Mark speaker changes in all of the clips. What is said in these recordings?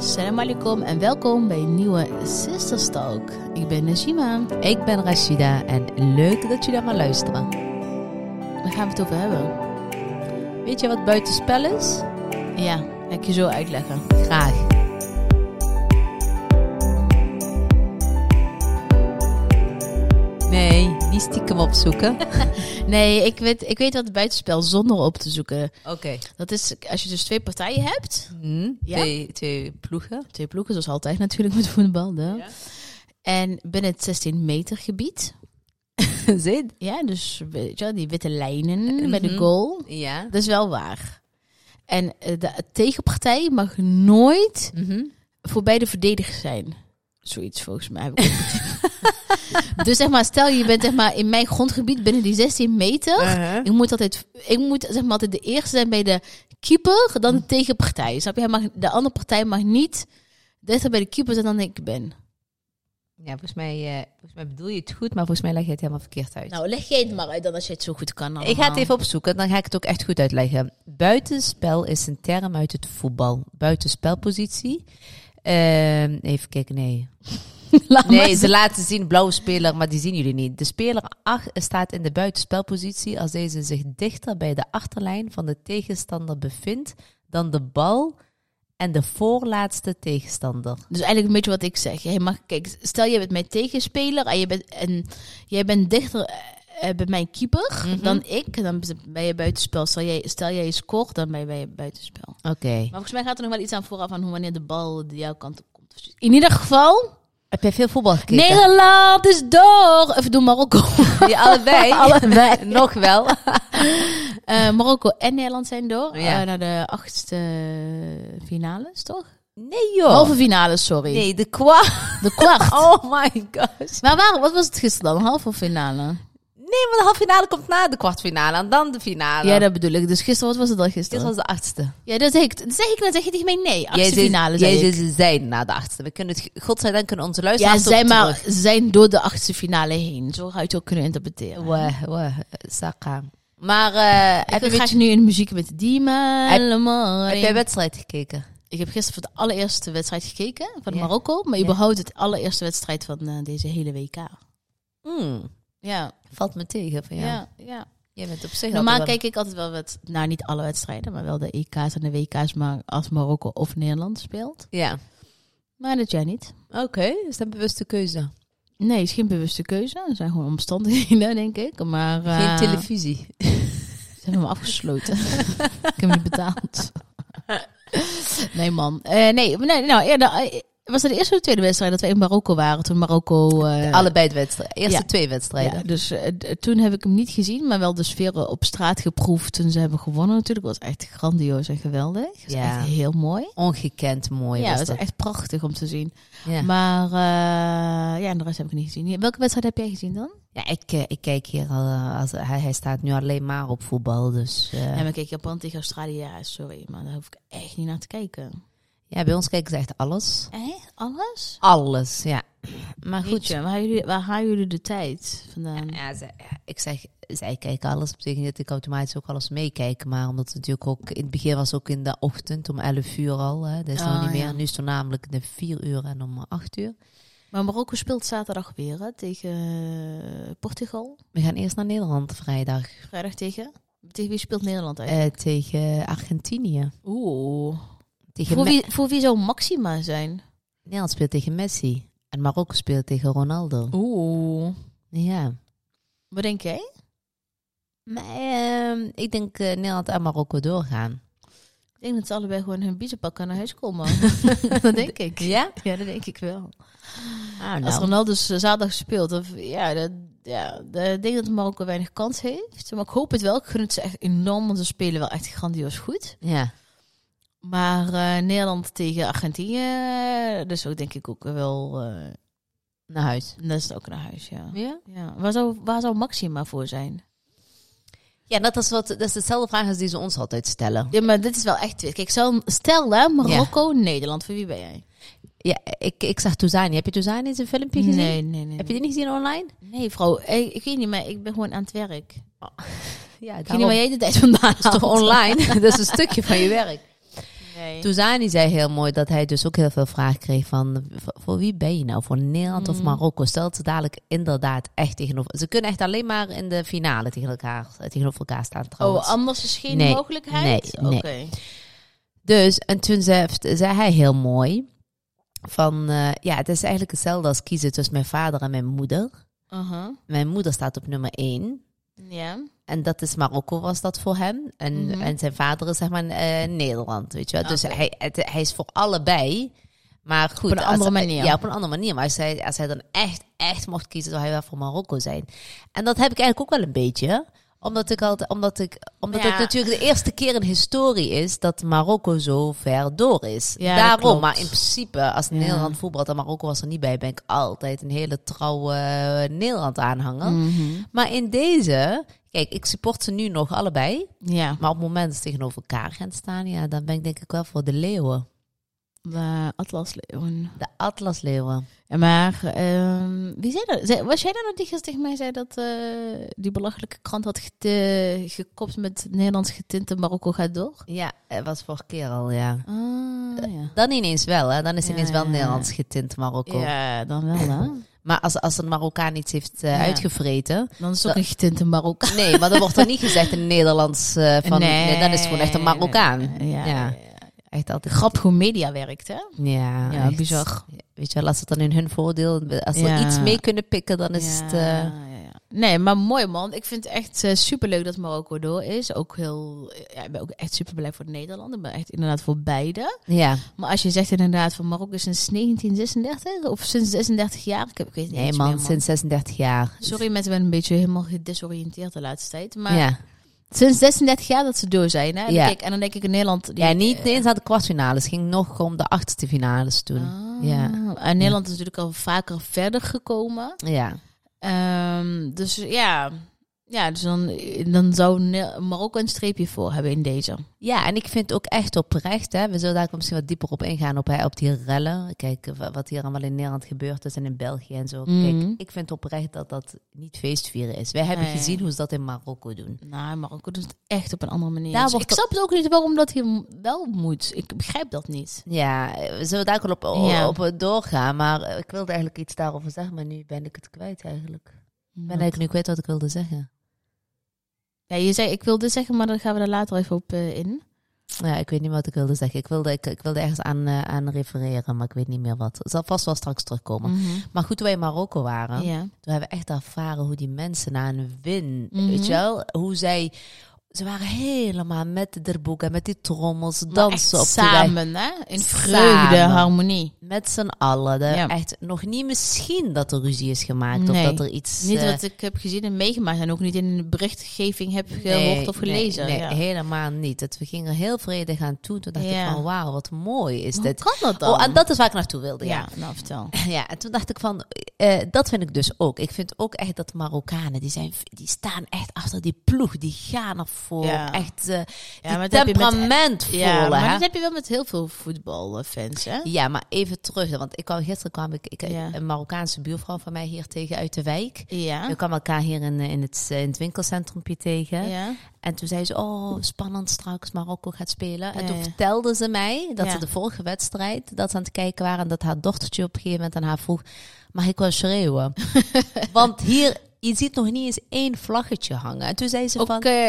Speaker 1: Salam alaikum en welkom bij een nieuwe Sisters Talk. Ik ben Najima.
Speaker 2: Ik ben Rashida en leuk dat jullie naar luisteren.
Speaker 1: Daar gaan we het over hebben.
Speaker 2: Weet je wat buitenspel is?
Speaker 1: Ja, ga ik je zo uitleggen.
Speaker 2: Graag. Nee, niet stiekem opzoeken.
Speaker 1: Nee, ik weet, ik weet wat buitenspel zonder op te zoeken.
Speaker 2: Oké.
Speaker 1: Dat is als je dus twee partijen hebt.
Speaker 2: Hm,
Speaker 1: Ja?
Speaker 2: twee, twee ploegen.
Speaker 1: Twee ploegen, zoals altijd natuurlijk met voetbal. Hè? En binnen het 16 meter gebied.
Speaker 2: Zit?
Speaker 1: Ja, dus weet je wel, die witte lijnen bij de
Speaker 2: Mhm.
Speaker 1: goal.
Speaker 2: Ja.
Speaker 1: Dat is wel waar. En eh, de tegenpartij mag nooit
Speaker 2: Mhm.
Speaker 1: voorbij de verdediger zijn. Zoiets volgens mij. heb ik ook. dus zeg maar, stel je bent zeg maar, in mijn grondgebied binnen die 16 meter. Ik moet, altijd, ik moet zeg maar, altijd de eerste zijn bij de keeper, dan de tegenpartij. Snap je? Hij mag- de andere partij mag niet dichter bij de keeper zijn dan ik ben.
Speaker 2: Ja, volgens mij, eh, volgens mij bedoel je het goed, maar volgens mij leg je het helemaal verkeerd uit.
Speaker 1: Nou, leg jij het maar uit dan als je het zo goed kan.
Speaker 2: Ik ga het
Speaker 1: allemaal.
Speaker 2: even opzoeken, dan ga ik het ook echt goed uitleggen. Buitenspel is een term uit het voetbal. Buitenspelpositie. Ehm, even kijken, nee.
Speaker 1: Laat maar
Speaker 2: Nee,
Speaker 1: zitten.
Speaker 2: ze laten zien blauwe speler, maar die zien jullie niet. De speler 8 staat in de buitenspelpositie als deze zich dichter bij de achterlijn van de tegenstander bevindt dan de bal en de voorlaatste tegenstander.
Speaker 1: Dus eigenlijk een beetje wat ik zeg. Jij mag, kijk, stel je bent mijn tegenspeler en, je bent, en jij bent dichter eh, eh, bij mijn keeper
Speaker 2: Mhm.
Speaker 1: dan ik. Dan ben je buitenspel. Stel jij, stel jij scoort, dan ben je- ben je buitenspel.
Speaker 2: Oké.
Speaker 1: Maar volgens mij gaat er nog wel iets aan vooraf aan hoe wanneer de bal de jouw kant op komt. of zoiets. In ieder geval,
Speaker 2: Heb jij veel voetbal gekeken?
Speaker 1: Nederland is door! Even door Marokko.
Speaker 2: Ja, allebei.
Speaker 1: Allebei.
Speaker 2: Nog wel.
Speaker 1: Eh, Marokko en Nederland zijn door
Speaker 2: Ja.
Speaker 1: eh, naar de achtste finales, toch?
Speaker 2: Nee joh.
Speaker 1: Halve finales, sorry.
Speaker 2: Oh. Nee, de kwa.
Speaker 1: De kwart.
Speaker 2: Oh my gosh.
Speaker 1: Maar waar, wat was het gisteren dan? Halve finale?
Speaker 2: Nee, maar de halve finale komt na de kwartfinale en dan de finale.
Speaker 1: Ja, dat bedoel ik. Dus gisteren, wat was het dan
Speaker 2: Dit
Speaker 1: gisteren?
Speaker 2: was de achtste.
Speaker 1: Ja, dat zeg ik. Dat zeg ik, dan zeg je tegen mij nee. Achtste
Speaker 2: Jij zei-
Speaker 1: finale,
Speaker 2: jij
Speaker 1: zei ik.
Speaker 2: zei ze zijn na de achtste. We kunnen het, godzijdank kunnen onze
Speaker 1: Ja,
Speaker 2: luisteraars
Speaker 1: zij
Speaker 2: op
Speaker 1: maar
Speaker 2: terug.
Speaker 1: zijn door de achtste finale heen. Zo zou je het ook kunnen interpreteren.
Speaker 2: Wah, wah, saka. Maar eh, heb, je
Speaker 1: ik ga
Speaker 2: weet-
Speaker 1: je nu in de muziek met Dima.
Speaker 2: Heb-
Speaker 1: helemaal.
Speaker 2: heb jij wedstrijd gekeken?
Speaker 1: Ik heb gisteren voor de allereerste wedstrijd gekeken van
Speaker 2: Ja.
Speaker 1: Marokko. Maar
Speaker 2: Ja.
Speaker 1: überhaupt het allereerste wedstrijd van eh, deze hele WK.
Speaker 2: Hmm,
Speaker 1: Ja,
Speaker 2: valt me tegen van
Speaker 1: ja,
Speaker 2: jou.
Speaker 1: ja.
Speaker 2: Jij bent op zich
Speaker 1: Normaal
Speaker 2: altijd wel-
Speaker 1: kijk ik altijd wel wat, nou niet alle wedstrijden, maar wel de EK's en de WK's maar als Marokko of Nederland speelt.
Speaker 2: Ja.
Speaker 1: Maar dat jij niet.
Speaker 2: Oké, is dat een bewuste keuze?
Speaker 1: Nee, het is geen bewuste keuze. Er zijn gewoon omstandigheden, denk ik. Maar eh,
Speaker 2: Geen televisie.
Speaker 1: Ze hebben me afgesloten. ik heb niet betaald. nee, man. Eh, nee, maar nee, nou, eerder, eh, was het de eerste of de tweede wedstrijd dat we in Marokko waren? Toen Marokko... eh,
Speaker 2: Allebei de wedstrijd. Eerste
Speaker 1: ja.
Speaker 2: twee wedstrijden.
Speaker 1: ja, dus eh, d- toen heb ik hem niet gezien, maar wel de sfeer op straat geproefd toen ze hebben gewonnen natuurlijk. was echt grandioos en geweldig. was
Speaker 2: Ja.
Speaker 1: echt heel mooi.
Speaker 2: Ongekend mooi
Speaker 1: ja,
Speaker 2: was
Speaker 1: het was
Speaker 2: dat.
Speaker 1: echt prachtig om te zien.
Speaker 2: Ja.
Speaker 1: Maar eh, ja, en de rest heb ik niet gezien. Welke wedstrijd heb jij gezien dan?
Speaker 2: Ja, ik, eh, ik kijk hier al. eh, Als, hij, hij staat nu alleen maar op voetbal. Dus eh,
Speaker 1: Ja, maar kijk, Japan tegen Australië, ja, sorry, maar daar hoef ik echt niet naar te kijken.
Speaker 2: ja, bij ons kijken ze echt alles.
Speaker 1: Echt? Alles?
Speaker 2: Alles, ja. Maar goed.
Speaker 1: Goedje, waar, halen jullie- waar halen jullie de tijd vandaan?
Speaker 2: Ja, ze- ja, ik zeg, zij kijken alles. Dat betekent niet dat ik automatisch ook alles meekijk. Maar omdat het natuurlijk ook in het begin was, ook in de ochtend om 11 uur al. Hè, dat is
Speaker 1: Oh,
Speaker 2: nog niet meer.
Speaker 1: ja.
Speaker 2: Nu is het namelijk de 4 uur en om 8 uur.
Speaker 1: Maar Marokko speelt zaterdag weer hè, tegen eh, Portugal.
Speaker 2: We gaan eerst naar Nederland vrijdag
Speaker 1: Vrijdag tegen? Tegen wie speelt Nederland
Speaker 2: eh,
Speaker 1: eigenlijk?
Speaker 2: tegen Argentinië.
Speaker 1: Oeh.
Speaker 2: Tegen
Speaker 1: Voor
Speaker 2: Me-
Speaker 1: wie, voor wie zou Maxima zijn?
Speaker 2: Nederland speelt tegen Messi. En Marokko speelt tegen Ronaldo.
Speaker 1: Oeh.
Speaker 2: Ja.
Speaker 1: Wat denk jij?
Speaker 2: Maar, ehm, ik denk eh, Nederland en Marokko doorgaan.
Speaker 1: Ik denk dat ze allebei gewoon hun biezen pakken en naar huis komen. dat denk ik.
Speaker 2: Ja?
Speaker 1: Ja, dat denk ik wel.
Speaker 2: Ah,
Speaker 1: Als
Speaker 2: nou.
Speaker 1: Ronaldo z- zaterdag speelt, of, ja, dat, ja, dat- ik denk dat Marokko weinig kans heeft. Maar ik hoop het wel. Ik gun het ze echt enorm, want ze spelen wel echt grandioos goed.
Speaker 2: Ja.
Speaker 1: Maar eh, Nederland tegen Argentinië, dus ook denk ik ook wel. eh
Speaker 2: Naar huis.
Speaker 1: dat is ook naar huis, ja.
Speaker 2: Ja?
Speaker 1: ja. Waar, zou, waar zou Maxima voor zijn?
Speaker 2: Ja, dat is, wat, dat is dezelfde vraag als die ze ons altijd stellen.
Speaker 1: Ja, maar dit is wel echt twist. Kijk, stel, stel hè, Marokko, Nederland, voor wie ben jij?
Speaker 2: Ja, ik, ik zag Touzani. Heb je Touzani zijn filmpje gezien?
Speaker 1: Nee, nee, nee.
Speaker 2: Heb je die niet gezien online?
Speaker 1: Nee, vrouw, eh, ik, ik weet niet, maar ik ben gewoon aan het werk. Ik
Speaker 2: Ja,
Speaker 1: weet niet waar jij de tijd vandaan
Speaker 2: is toch online? dat is een stukje van je werk.
Speaker 1: Nee.
Speaker 2: Touzani zei heel mooi dat hij dus ook heel veel vragen kreeg van... "Voor- Voor wie ben je nou? Voor Nederland of
Speaker 1: Mm.
Speaker 2: Marokko? Stelt ze dadelijk inderdaad echt tegenover... Ze kunnen echt alleen maar in de finale tegen elkaar, eh, tegenover elkaar staan trouwens.
Speaker 1: Oh, anders is geen
Speaker 2: Nee,
Speaker 1: mogelijkheid?
Speaker 2: nee, nee.
Speaker 1: Oké.
Speaker 2: Dus, en toen zei, zei hij heel mooi van... eh, ja, het is eigenlijk hetzelfde als kiezen tussen mijn vader en mijn moeder.
Speaker 1: Aha.
Speaker 2: Mijn moeder staat op nummer één.
Speaker 1: Ja.
Speaker 2: En dat is Marokko was dat voor hem. En,
Speaker 1: Mhm.
Speaker 2: en zijn vader is zeg maar eh, Nederland, weet je wel. Dus
Speaker 1: Oké.
Speaker 2: hij, het- hij is voor allebei. Maar goed,
Speaker 1: een andere
Speaker 2: als-
Speaker 1: manier.
Speaker 2: Ja, op een andere manier. Maar als hij, als hij dan echt, echt mocht kiezen, zou hij wel voor Marokko zijn. En dat heb ik eigenlijk ook wel een beetje. Omdat ik altijd, omdat ik, omdat
Speaker 1: Ja.
Speaker 2: het natuurlijk de eerste keer in historie is dat Marokko zo ver door is.
Speaker 1: Ja, dat
Speaker 2: Daarom.
Speaker 1: klopt.
Speaker 2: Maar in principe, als
Speaker 1: Ja.
Speaker 2: Nederland voetbalt en Marokko was er niet bij, ben ik altijd een hele trouwe eh, Nederland aanhanger.
Speaker 1: Mhm.
Speaker 2: Maar in deze, kijk, ik support ze nu nog allebei.
Speaker 1: Ja.
Speaker 2: Maar op het moment dat ze tegenover elkaar gaan staan, ja, dan ben ik denk ik wel voor de leeuwen.
Speaker 1: De Atlasleeuwen.
Speaker 2: De Atlasleeuwen.
Speaker 1: En Maar ehm, wie zei dat? Zei- was jij dan ook die gisteren tegen mij zei dat eh, die belachelijke krant had gete- gekopt met Nederlands getinte Marokko gaat door?
Speaker 2: Ja, het was vorige keer al, ja.
Speaker 1: Ah, ja.
Speaker 2: Dan ineens wel, hè. Dan is
Speaker 1: Ja,
Speaker 2: ineens wel
Speaker 1: ja, ja.
Speaker 2: Nederlands getint Marokko.
Speaker 1: Ja, dan wel hè.
Speaker 2: Maar als, als een Marokkaan iets heeft eh,
Speaker 1: Ja.
Speaker 2: uitgevreten...
Speaker 1: Dan is het ook een getinte Marokko.
Speaker 2: Nee, maar dan wordt er niet gezegd een Nederlands eh, van... Nee. dan is het gewoon echt een Marokkaan.
Speaker 1: Ja.
Speaker 2: Ja.
Speaker 1: ja.
Speaker 2: Echt altijd...
Speaker 1: Grappig hoe media werkt hè.
Speaker 2: Ja,
Speaker 1: Ja,
Speaker 2: echt.
Speaker 1: bizar.
Speaker 2: Weet je wel, als het dan in hun voordeel... Als ze
Speaker 1: Ja.
Speaker 2: iets mee kunnen pikken, dan is
Speaker 1: Ja,
Speaker 2: het... eh,
Speaker 1: ja, ja. Nee, maar mooi man. Ik vind het echt eh, superleuk dat Marokko door is. Ook heel, ja, ik ben ook echt super blij voor Nederland. Ik ben echt inderdaad voor beide.
Speaker 2: eh, ja.
Speaker 1: Maar als je zegt inderdaad van Marokko is sinds 1936 of sinds 36 jaar, ik, heb, ik weet het niet
Speaker 2: Nee,
Speaker 1: eens
Speaker 2: man,
Speaker 1: meer,
Speaker 2: sinds 36 jaar.
Speaker 1: Sorry, mensen zijn een beetje helemaal gedesoriënteerd de laatste tijd. Maar
Speaker 2: ja.
Speaker 1: sinds 36 jaar dat ze door zijn. Hè? En,
Speaker 2: Ja.
Speaker 1: kijk, en dan denk ik eh, in Nederland. die-
Speaker 2: ja, niet eens aan de kwartfinales. Het ging nog om de achtste finales toen.
Speaker 1: Ah,
Speaker 2: Ja.
Speaker 1: En Nederland is natuurlijk al vaker verder gekomen.
Speaker 2: Ja.
Speaker 1: Ehm, dus ja. Ja, dus dan, dan zou Ne- Marokko een streepje voor hebben in deze.
Speaker 2: Ja, en ik vind ook echt oprecht, hè, we zullen daar ook misschien wat dieper op ingaan, op, hè, op die rellen. Kijk, eh, wa- wat hier allemaal in Nederland gebeurd is en in België en zo.
Speaker 1: Mhm.
Speaker 2: Kijk, ik vind oprecht dat dat niet feestvieren is. Wij hebben
Speaker 1: Nee.
Speaker 2: gezien hoe ze dat in Marokko doen.
Speaker 1: Nou, Marokko doet het echt op een andere manier.
Speaker 2: Daar
Speaker 1: Dus
Speaker 2: wordt
Speaker 1: ik snap het ook niet waarom dat hier wel moet. Ik begrijp dat niet.
Speaker 2: Ja, eh, we zullen daar ook wel op,
Speaker 1: Ja.
Speaker 2: op, eh, doorgaan, maar eh, ik wilde eigenlijk iets daarover zeggen, maar nu ben ik het kwijt eigenlijk. Ik ben eigenlijk nu kwijt wat ik wilde zeggen.
Speaker 1: Ja, je zei, ik wilde zeggen, maar dan gaan we daar later even op eh, in.
Speaker 2: Ja, ik weet niet wat ik wilde zeggen. Ik wilde, ik, ik wilde ergens aan, eh, aan refereren, maar ik weet niet meer wat. Het zal vast wel straks terugkomen.
Speaker 1: Mhm.
Speaker 2: Maar goed, toen wij in Marokko waren,
Speaker 1: Mm. Ja.
Speaker 2: Toen hebben we echt ervaren hoe die mensen na een win,
Speaker 1: Mhm.
Speaker 2: weet je wel, hoe zij, ze waren helemaal met de boek en met die trommels,
Speaker 1: Maar echt
Speaker 2: dansen op de weg.
Speaker 1: samen, hè? In vreugde,
Speaker 2: Samen.
Speaker 1: harmonie.
Speaker 2: Met z'n allen. De-
Speaker 1: Ja.
Speaker 2: Echt nog niet misschien dat er ruzie is gemaakt
Speaker 1: Nee.
Speaker 2: of dat er iets...
Speaker 1: Niet
Speaker 2: eh,
Speaker 1: wat ik heb gezien en meegemaakt en ook niet in de berichtgeving heb gehoord
Speaker 2: nee,
Speaker 1: of gelezen.
Speaker 2: Nee,
Speaker 1: Ja.
Speaker 2: nee, helemaal niet. Het, we gingen heel vredig aan toe. Toen dacht ik
Speaker 1: Ja.
Speaker 2: van, wauw, wat mooi is
Speaker 1: Maar
Speaker 2: dit.
Speaker 1: Hoe kan dat dan?
Speaker 2: Oh, en dat is waar ik naartoe wilde, ja.
Speaker 1: Ja, nou vertel.
Speaker 2: Ja, en toen dacht ik van, eh, dat vind ik dus ook. Ik vind ook echt dat Marokkanen, die, zijn, die staan echt achter die ploeg. Die gaan ervoor.
Speaker 1: Ja.
Speaker 2: Echt eh
Speaker 1: maar
Speaker 2: die
Speaker 1: dat heb je met-
Speaker 2: temperamentvolle.
Speaker 1: Ja, maar
Speaker 2: hè.
Speaker 1: dat heb je wel met heel veel voetbalfans, hè?
Speaker 2: ja, maar even terug. dan, Want ik kwam, gisteren kwam ik, ik
Speaker 1: Ja. Ah.
Speaker 2: een Marokkaanse buurvrouw van mij hier tegen uit de wijk.
Speaker 1: Ja.
Speaker 2: We kwamen elkaar hier in, eh, in, het, eh, in het winkelcentrumpje tegen.
Speaker 1: Ja.
Speaker 2: En toen zei ze, oh, spannend straks, Marokko gaat spelen. En
Speaker 1: Ja,
Speaker 2: toen
Speaker 1: ja.
Speaker 2: vertelde ze mij dat
Speaker 1: Ja.
Speaker 2: ze de vorige wedstrijd dat ze aan het kijken waren. En dat haar dochtertje op een gegeven moment aan haar vroeg, mag ik wel schreeuwen? Want hier, je ziet nog niet eens één vlaggetje hangen. En toen zei ze
Speaker 1: Ook,
Speaker 2: van...
Speaker 1: eh,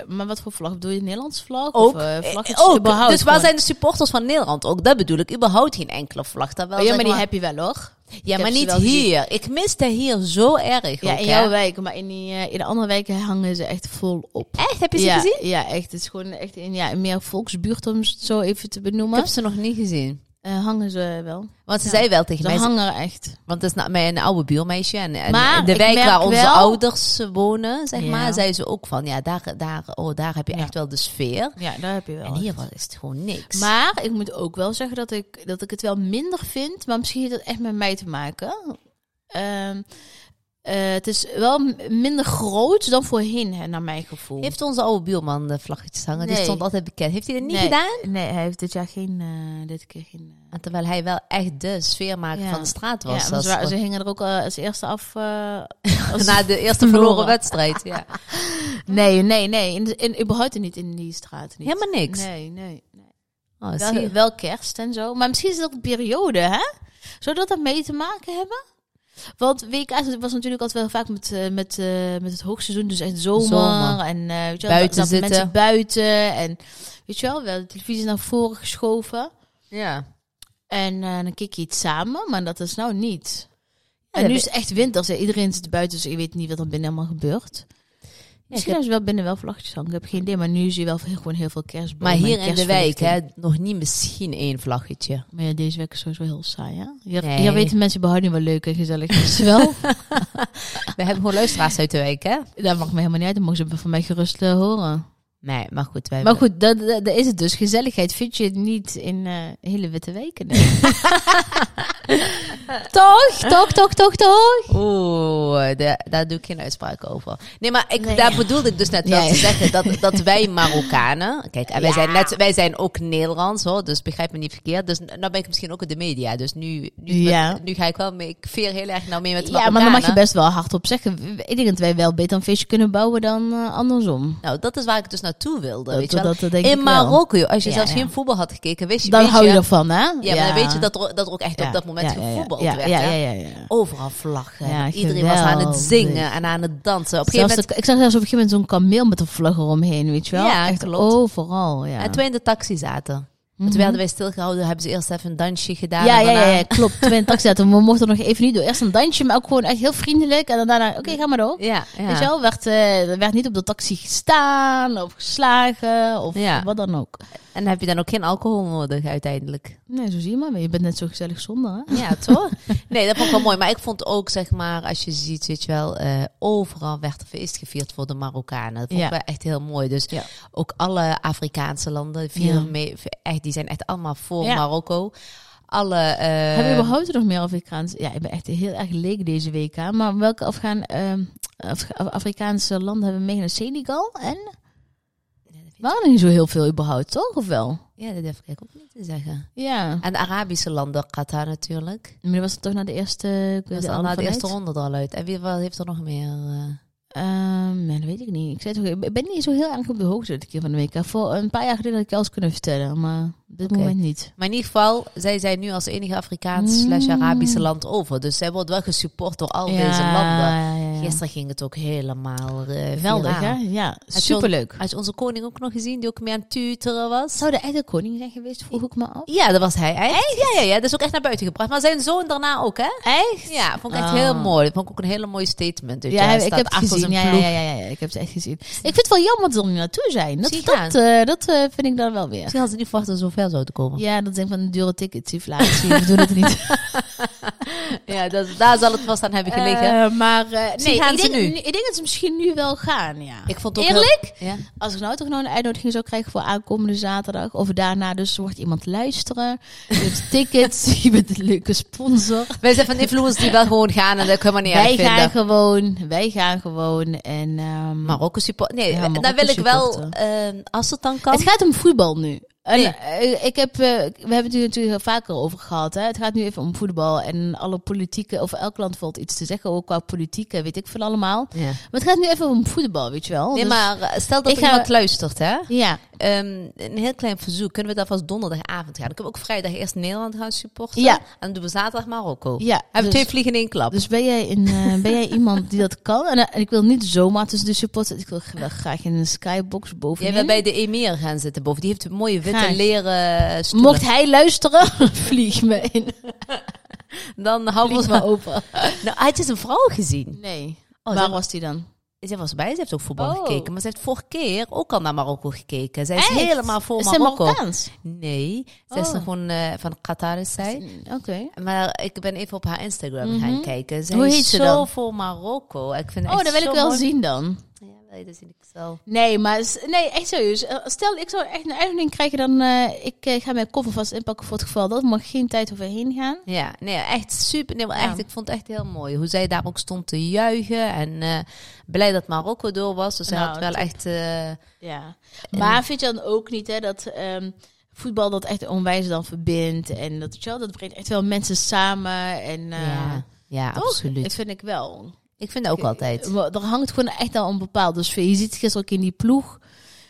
Speaker 1: eh, maar wat voor vlag? Bedoel je Nederlands vlag? of, eh,
Speaker 2: eh,
Speaker 1: vlaggetjes
Speaker 2: ook.
Speaker 1: überhaupt?
Speaker 2: Dus waar
Speaker 1: Gewoon-
Speaker 2: zijn de supporters van Nederland ook? Dat bedoel ik, überhaupt geen enkele vlag. Terwijl,
Speaker 1: Oh, ja,
Speaker 2: zeg
Speaker 1: maar die heb je wel, hoor. Ik
Speaker 2: ja,
Speaker 1: heb
Speaker 2: maar
Speaker 1: ze
Speaker 2: niet
Speaker 1: wel gezien.
Speaker 2: hier. Ik miste hier zo erg
Speaker 1: Ja,
Speaker 2: ook,
Speaker 1: in
Speaker 2: hè.
Speaker 1: jouw wijk. Maar in, die, eh, in de andere wijken hangen ze echt vol op.
Speaker 2: Echt, heb je ze
Speaker 1: ja,
Speaker 2: gezien?
Speaker 1: Ja, echt. Het is gewoon echt in ja, in meer volksbuurt, om het zo even te
Speaker 2: Ik
Speaker 1: benoemen.
Speaker 2: heb ze nog niet gezien.
Speaker 1: eh, hangen ze wel.
Speaker 2: Want ze
Speaker 1: Ja.
Speaker 2: zei wel tegen
Speaker 1: Ze
Speaker 2: mij, ze-
Speaker 1: hangen er echt.
Speaker 2: Want het is nou mijn oude buurmeisje. En, en
Speaker 1: Maar
Speaker 2: de
Speaker 1: ik
Speaker 2: wijk
Speaker 1: merk
Speaker 2: waar onze
Speaker 1: wel-
Speaker 2: ouders wonen, zeg
Speaker 1: Ja.
Speaker 2: maar, zei ze ook van... Ja, daar, daar, oh, daar heb je
Speaker 1: Ja.
Speaker 2: echt wel de sfeer.
Speaker 1: Ja, daar heb je wel.
Speaker 2: En hier was- is het gewoon niks.
Speaker 1: Maar ik moet ook wel zeggen dat ik, dat ik het wel minder vind. Maar misschien heeft dat echt met mij te maken. Ehm, eh, het is wel m- minder groot dan voorheen, hè, naar mijn gevoel.
Speaker 2: heeft onze oude buurman de vlaggetjes hangen? Die
Speaker 1: Nee.
Speaker 2: stond altijd bekend. Heeft hij dat niet
Speaker 1: Nee.
Speaker 2: gedaan?
Speaker 1: Nee, hij heeft dit jaar geen... eh, dit keer geen... eh,
Speaker 2: En terwijl hij wel echt de sfeermaker
Speaker 1: Ja.
Speaker 2: van de straat
Speaker 1: ja,
Speaker 2: was.
Speaker 1: want
Speaker 2: als-
Speaker 1: ze, waren- ze hingen er ook eh, als eerste af. eh, als-
Speaker 2: na de eerste
Speaker 1: verloren.
Speaker 2: verloren wedstrijd. Ja.
Speaker 1: nee, nee, nee. In, in, überhaupt niet in die straat. Niet.
Speaker 2: Helemaal niks.
Speaker 1: Nee, nee. nee.
Speaker 2: Oh, zie
Speaker 1: Wel,
Speaker 2: je.
Speaker 1: wel kerst en zo. Maar misschien is dat een periode, hè? Zou dat daarmee te maken hebben? Want WK's was natuurlijk altijd wel vaak met, eh, met, eh, met het hoogseizoen. Dus echt zomer.
Speaker 2: Zomer.
Speaker 1: En eh, weet je wel,
Speaker 2: Buiten
Speaker 1: dan- dan
Speaker 2: zitten.
Speaker 1: mensen buiten. En weet je wel, wel de televisie naar voren geschoven.
Speaker 2: Ja.
Speaker 1: En eh, dan kijk je iets samen, maar dat is nou niet.
Speaker 2: Ja,
Speaker 1: en
Speaker 2: dat
Speaker 1: nu is het echt winter. ze- Iedereen zit buiten, dus je weet niet wat er binnen allemaal gebeurt.
Speaker 2: ik
Speaker 1: Misschien
Speaker 2: heb-
Speaker 1: hebben ze wel binnen wel vlaggetjes hangen. Ik heb geen idee, maar nu zie je wel heel- gewoon heel veel kerstbomen.
Speaker 2: Maar hier
Speaker 1: en
Speaker 2: in de wijk,
Speaker 1: kerstverlichting.
Speaker 2: hè, nog niet misschien één vlaggetje.
Speaker 1: Maar ja, deze week is sowieso heel saai, hè? Hier,
Speaker 2: Nee.
Speaker 1: hier weten mensen überhaupt niet wat leuk en gezellig is. wel,
Speaker 2: We hebben gewoon luisteraars uit de wijk, hè?
Speaker 1: dat mag me helemaal niet uit. Dan mogen ze van mij gerust eh, horen.
Speaker 2: Nee, maar goed. Wij
Speaker 1: Maar goed, dat, dat, dat is het dus. Gezelligheid vind je niet in eh, hele witte wijken. hè? toch, toch, toch, toch, toch.
Speaker 2: Oeh, da- daar doe ik geen uitspraak over. Nee, maar ik,
Speaker 1: Nee.
Speaker 2: daar bedoelde ik dus net wel
Speaker 1: Ja,
Speaker 2: te
Speaker 1: ja.
Speaker 2: zeggen dat, dat wij Marokkanen... Kijk, en wij,
Speaker 1: Ja.
Speaker 2: zijn net, wij zijn ook Nederlands, hoor, dus begrijp me niet verkeerd. Dus nou ben ik misschien ook in de media, dus nu, nu,
Speaker 1: Ja.
Speaker 2: nu ga ik wel mee... Ik veer heel erg nou mee met
Speaker 1: Ja,
Speaker 2: Marokkanen.
Speaker 1: maar dan mag je best wel hardop zeggen. Ik denk dat wij wel beter een feestje kunnen bouwen dan eh, andersom.
Speaker 2: Nou, dat is waar ik dus naartoe wilde,
Speaker 1: Dat-
Speaker 2: weet je wel.
Speaker 1: dat- dat denk ik
Speaker 2: in
Speaker 1: wel.
Speaker 2: Marokko, joh, als je
Speaker 1: Ja,
Speaker 2: zelfs
Speaker 1: ja.
Speaker 2: geen voetbal had gekeken, wist je...
Speaker 1: Dan
Speaker 2: weet
Speaker 1: hou je
Speaker 2: je
Speaker 1: ervan, hè?
Speaker 2: Ja, maar dan weet je dat er, dat er ook echt op dat moment gevoetbald
Speaker 1: ja,
Speaker 2: werd,
Speaker 1: ja,
Speaker 2: hè?
Speaker 1: ja, ja, ja.
Speaker 2: Overal vlaggen.
Speaker 1: Ja,
Speaker 2: Iedereen was aan het
Speaker 1: geweldig.
Speaker 2: zingen en aan het dansen. Op een gegeven
Speaker 1: Zelfs
Speaker 2: moment
Speaker 1: de- ik zag zelfs op een gegeven moment zo'n kameel met een vlug eromheen, weet je wel?
Speaker 2: Ja,
Speaker 1: Echt
Speaker 2: klopt.
Speaker 1: overal, ja.
Speaker 2: En toen wij in de taxi zaten. Toen
Speaker 1: Mhm.
Speaker 2: werden wij stilgehouden, hebben ze eerst even een dansje gedaan.
Speaker 1: ja,
Speaker 2: en
Speaker 1: ja, ja,
Speaker 2: daarna-
Speaker 1: ja, klopt. Toen we in de taxi zaten, we mochten nog even niet door. Eerst een dansje, maar ook gewoon echt heel vriendelijk. En dan daarna, oké, ga maar door.
Speaker 2: ja. ja.
Speaker 1: Weet je wel, werd, eh, er werd niet op de taxi gestaan of geslagen of
Speaker 2: Ja.
Speaker 1: wat dan ook.
Speaker 2: En heb je dan ook geen alcohol nodig uiteindelijk?
Speaker 1: Nee, zo zie je maar. Je bent net zo gezellig zonder, hè?
Speaker 2: Ja, toch? Nee, dat vond ik wel mooi. Maar ik vond ook, zeg maar, als je ziet, weet je wel, eh, overal werd er feest gevierd voor de Marokkanen. Dat vond
Speaker 1: Ja.
Speaker 2: ik wel echt heel mooi. Dus
Speaker 1: Ja.
Speaker 2: ook alle Afrikaanse landen vieren
Speaker 1: Ja.
Speaker 2: mee, echt, die zijn echt allemaal voor
Speaker 1: Ja.
Speaker 2: Marokko. Alle... eh,
Speaker 1: Hebben we überhaupt nog meer Afrikaanse... Ja, ik ben echt heel erg leek deze week, hè? Maar welke Afghaan, ehm, Af- Af- Afrikaanse landen hebben we meegenomen? Senegal en... We hadden niet zo heel veel überhaupt, toch? Of wel?
Speaker 2: Ja, dat durf ik ook niet te zeggen.
Speaker 1: Ja.
Speaker 2: En de Arabische landen, Qatar natuurlijk.
Speaker 1: Maar dat was het toch na de eerste...
Speaker 2: Dat
Speaker 1: de
Speaker 2: is al na Dus nou de
Speaker 1: alfabet?
Speaker 2: eerste ronde er al uit. En wie wat heeft er nog meer? eh?
Speaker 1: Ehm, nee, dat weet ik niet. Ik, zei toch, ik ben niet zo heel erg op de hoogte dit keer van de week. Voor een paar jaar geleden had ik alles kunnen vertellen, maar op dit
Speaker 2: Oké.
Speaker 1: moment niet.
Speaker 2: Maar in ieder geval, zij zijn nu als enige Afrikaans
Speaker 1: Mm.
Speaker 2: slash Arabische land over. Dus zij wordt wel gesupport door al deze landen.
Speaker 1: ja, ja.
Speaker 2: Gisteren ging het ook helemaal eh
Speaker 1: Geweldig,
Speaker 2: viraal.
Speaker 1: hè? Ja,
Speaker 2: John-
Speaker 1: superleuk.
Speaker 2: Had je onze koning ook nog gezien, die ook mee aan het tuteren was?
Speaker 1: Zou de eigen koning zijn geweest, vroeg ik me af.
Speaker 2: Ja, dat was hij. Echt? Ja, ja, ja. Dat is ook echt naar buiten gebracht. Maar zijn zoon daarna ook, hè?
Speaker 1: Echt?
Speaker 2: Ja, vond ik echt
Speaker 1: Oh.
Speaker 2: heel mooi. Dat vond ik ook een hele mooie statement. Dus
Speaker 1: Ja,
Speaker 2: hij
Speaker 1: heb- ik
Speaker 2: staat
Speaker 1: heb het
Speaker 2: achter
Speaker 1: gezien.
Speaker 2: zijn
Speaker 1: Ja, ja,
Speaker 2: ploeg.
Speaker 1: ja, ja, ja, ik heb het echt gezien. Ik vind het wel jammer dat ze er niet naartoe zijn. Dat,
Speaker 2: Zie je
Speaker 1: dat, eh, dat eh, vind ik dan wel weer.
Speaker 2: Misschien hadden ze niet verwacht dat ze zo ver zouden komen.
Speaker 1: Ja, dat denk ik van de dure tickets, inflatie, we doen het niet.
Speaker 2: Ja, dat, daar zal het vast aan hebben gelegen.
Speaker 1: Eh, maar eh,
Speaker 2: Misschien
Speaker 1: nee,
Speaker 2: gaan
Speaker 1: ik
Speaker 2: ze
Speaker 1: denk,
Speaker 2: nu.
Speaker 1: ik denk dat ze misschien nu wel gaan, ja.
Speaker 2: ik vond het ook
Speaker 1: Eerlijk?
Speaker 2: Heel... Ja.
Speaker 1: Als ik nou toch nog een uitnodiging zou krijgen voor aankomende zaterdag. Of daarna dus wordt iemand luisteren. Je hebt tickets, je bent een leuke sponsor.
Speaker 2: Wij zijn van influencers die wel gewoon gaan en dat kunnen we niet
Speaker 1: wij
Speaker 2: erg vinden.
Speaker 1: gaan gewoon, wij gaan gewoon. En, ehm,
Speaker 2: Marokko support. Nee,
Speaker 1: Ja,
Speaker 2: dan
Speaker 1: Marokko
Speaker 2: wil ik wel,
Speaker 1: supporten.
Speaker 2: eh, als het dan kan.
Speaker 1: het gaat om voetbal nu. En,
Speaker 2: Nee.
Speaker 1: eh, ik heb, eh, we hebben het hier natuurlijk heel vaker over gehad. Hè? Het gaat nu even om voetbal. En alle politieke, of elk land valt iets te zeggen. Ook qua politiek, en weet ik veel allemaal.
Speaker 2: Ja.
Speaker 1: Maar het gaat nu even om voetbal, weet je wel.
Speaker 2: Nee,
Speaker 1: Dus-
Speaker 2: maar eh, stel dat
Speaker 1: Ik
Speaker 2: ik
Speaker 1: ga-
Speaker 2: iemand luistert, hè?
Speaker 1: Ja,
Speaker 2: Ehm, een heel klein verzoek. Kunnen we dat vast donderdagavond gaan? Dan kunnen we ook vrijdag eerst Nederland gaan supporten.
Speaker 1: Ja.
Speaker 2: En dan doen we zaterdag Marokko.
Speaker 1: ja.
Speaker 2: Hebben we
Speaker 1: dus-
Speaker 2: Oh. twee vliegen in één klap.
Speaker 1: Dus ben jij, een, eh, ben jij iemand die dat kan? En, eh, en ik wil niet zomaar tussen de supporters. Ik wil wel graag in een skybox
Speaker 2: Jij
Speaker 1: bovenin.
Speaker 2: wil bij de emir gaan zitten boven. Die heeft mooie witte
Speaker 1: Graag.
Speaker 2: leren stoelen.
Speaker 1: Mocht hij luisteren, vlieg me in.
Speaker 2: Dan houden we
Speaker 1: Vlieg
Speaker 2: ons maar
Speaker 1: me
Speaker 2: op.
Speaker 1: open.
Speaker 2: Nou, hij is een vrouw gezien.
Speaker 1: Nee.
Speaker 2: Oh,
Speaker 1: Waar
Speaker 2: dan-
Speaker 1: was die dan?
Speaker 2: Zij was bij, ze heeft ook voetbal
Speaker 1: Oh.
Speaker 2: gekeken. Maar ze heeft vorige keer ook al naar Marokko gekeken. Zij is
Speaker 1: Echt?
Speaker 2: helemaal voor
Speaker 1: Is hij
Speaker 2: Marokko.
Speaker 1: Marokkaans?
Speaker 2: Nee, zij is
Speaker 1: Oh.
Speaker 2: nog gewoon eh, van Qatar is zij.
Speaker 1: Oké.
Speaker 2: Maar ik ben even op haar Instagram gaan kijken. Ze
Speaker 1: Mhm. Hoe
Speaker 2: is
Speaker 1: heet ze
Speaker 2: zo
Speaker 1: dan?
Speaker 2: voor Marokko. Ik vind het
Speaker 1: Oh,
Speaker 2: echt
Speaker 1: dat wil
Speaker 2: zo
Speaker 1: ik wel
Speaker 2: mooi.
Speaker 1: zien dan.
Speaker 2: Ja, wil je dat zie ik wel.
Speaker 1: Nee, maar s- nee, echt serieus. Eh, Stel, ik zou echt een uitnodiging krijgen, dan eh, ik eh, ga mijn koffer vast inpakken voor het geval. Dat mag geen tijd overheen gaan.
Speaker 2: Ja, nee, echt super. Nee, maar
Speaker 1: Ja.
Speaker 2: echt, ik vond het echt heel mooi. Hoe zij daar ook stond te juichen. En eh, blij dat Marokko door was. Dus zij
Speaker 1: Nou,
Speaker 2: had wel
Speaker 1: top.
Speaker 2: echt... eh,
Speaker 1: Ja. Maar vind je dan ook niet hè, dat ehm, voetbal dat echt onwijs dan verbindt? En dat, weet je wel, dat brengt echt wel mensen samen. En, eh,
Speaker 2: ja, ja
Speaker 1: toch?
Speaker 2: absoluut.
Speaker 1: Dat vind ik wel. Eh,
Speaker 2: Ik vind dat ook altijd.
Speaker 1: dus Maar Er hangt gewoon echt al een bepaalde sfeer. Je ziet het gisteren ook in die ploeg.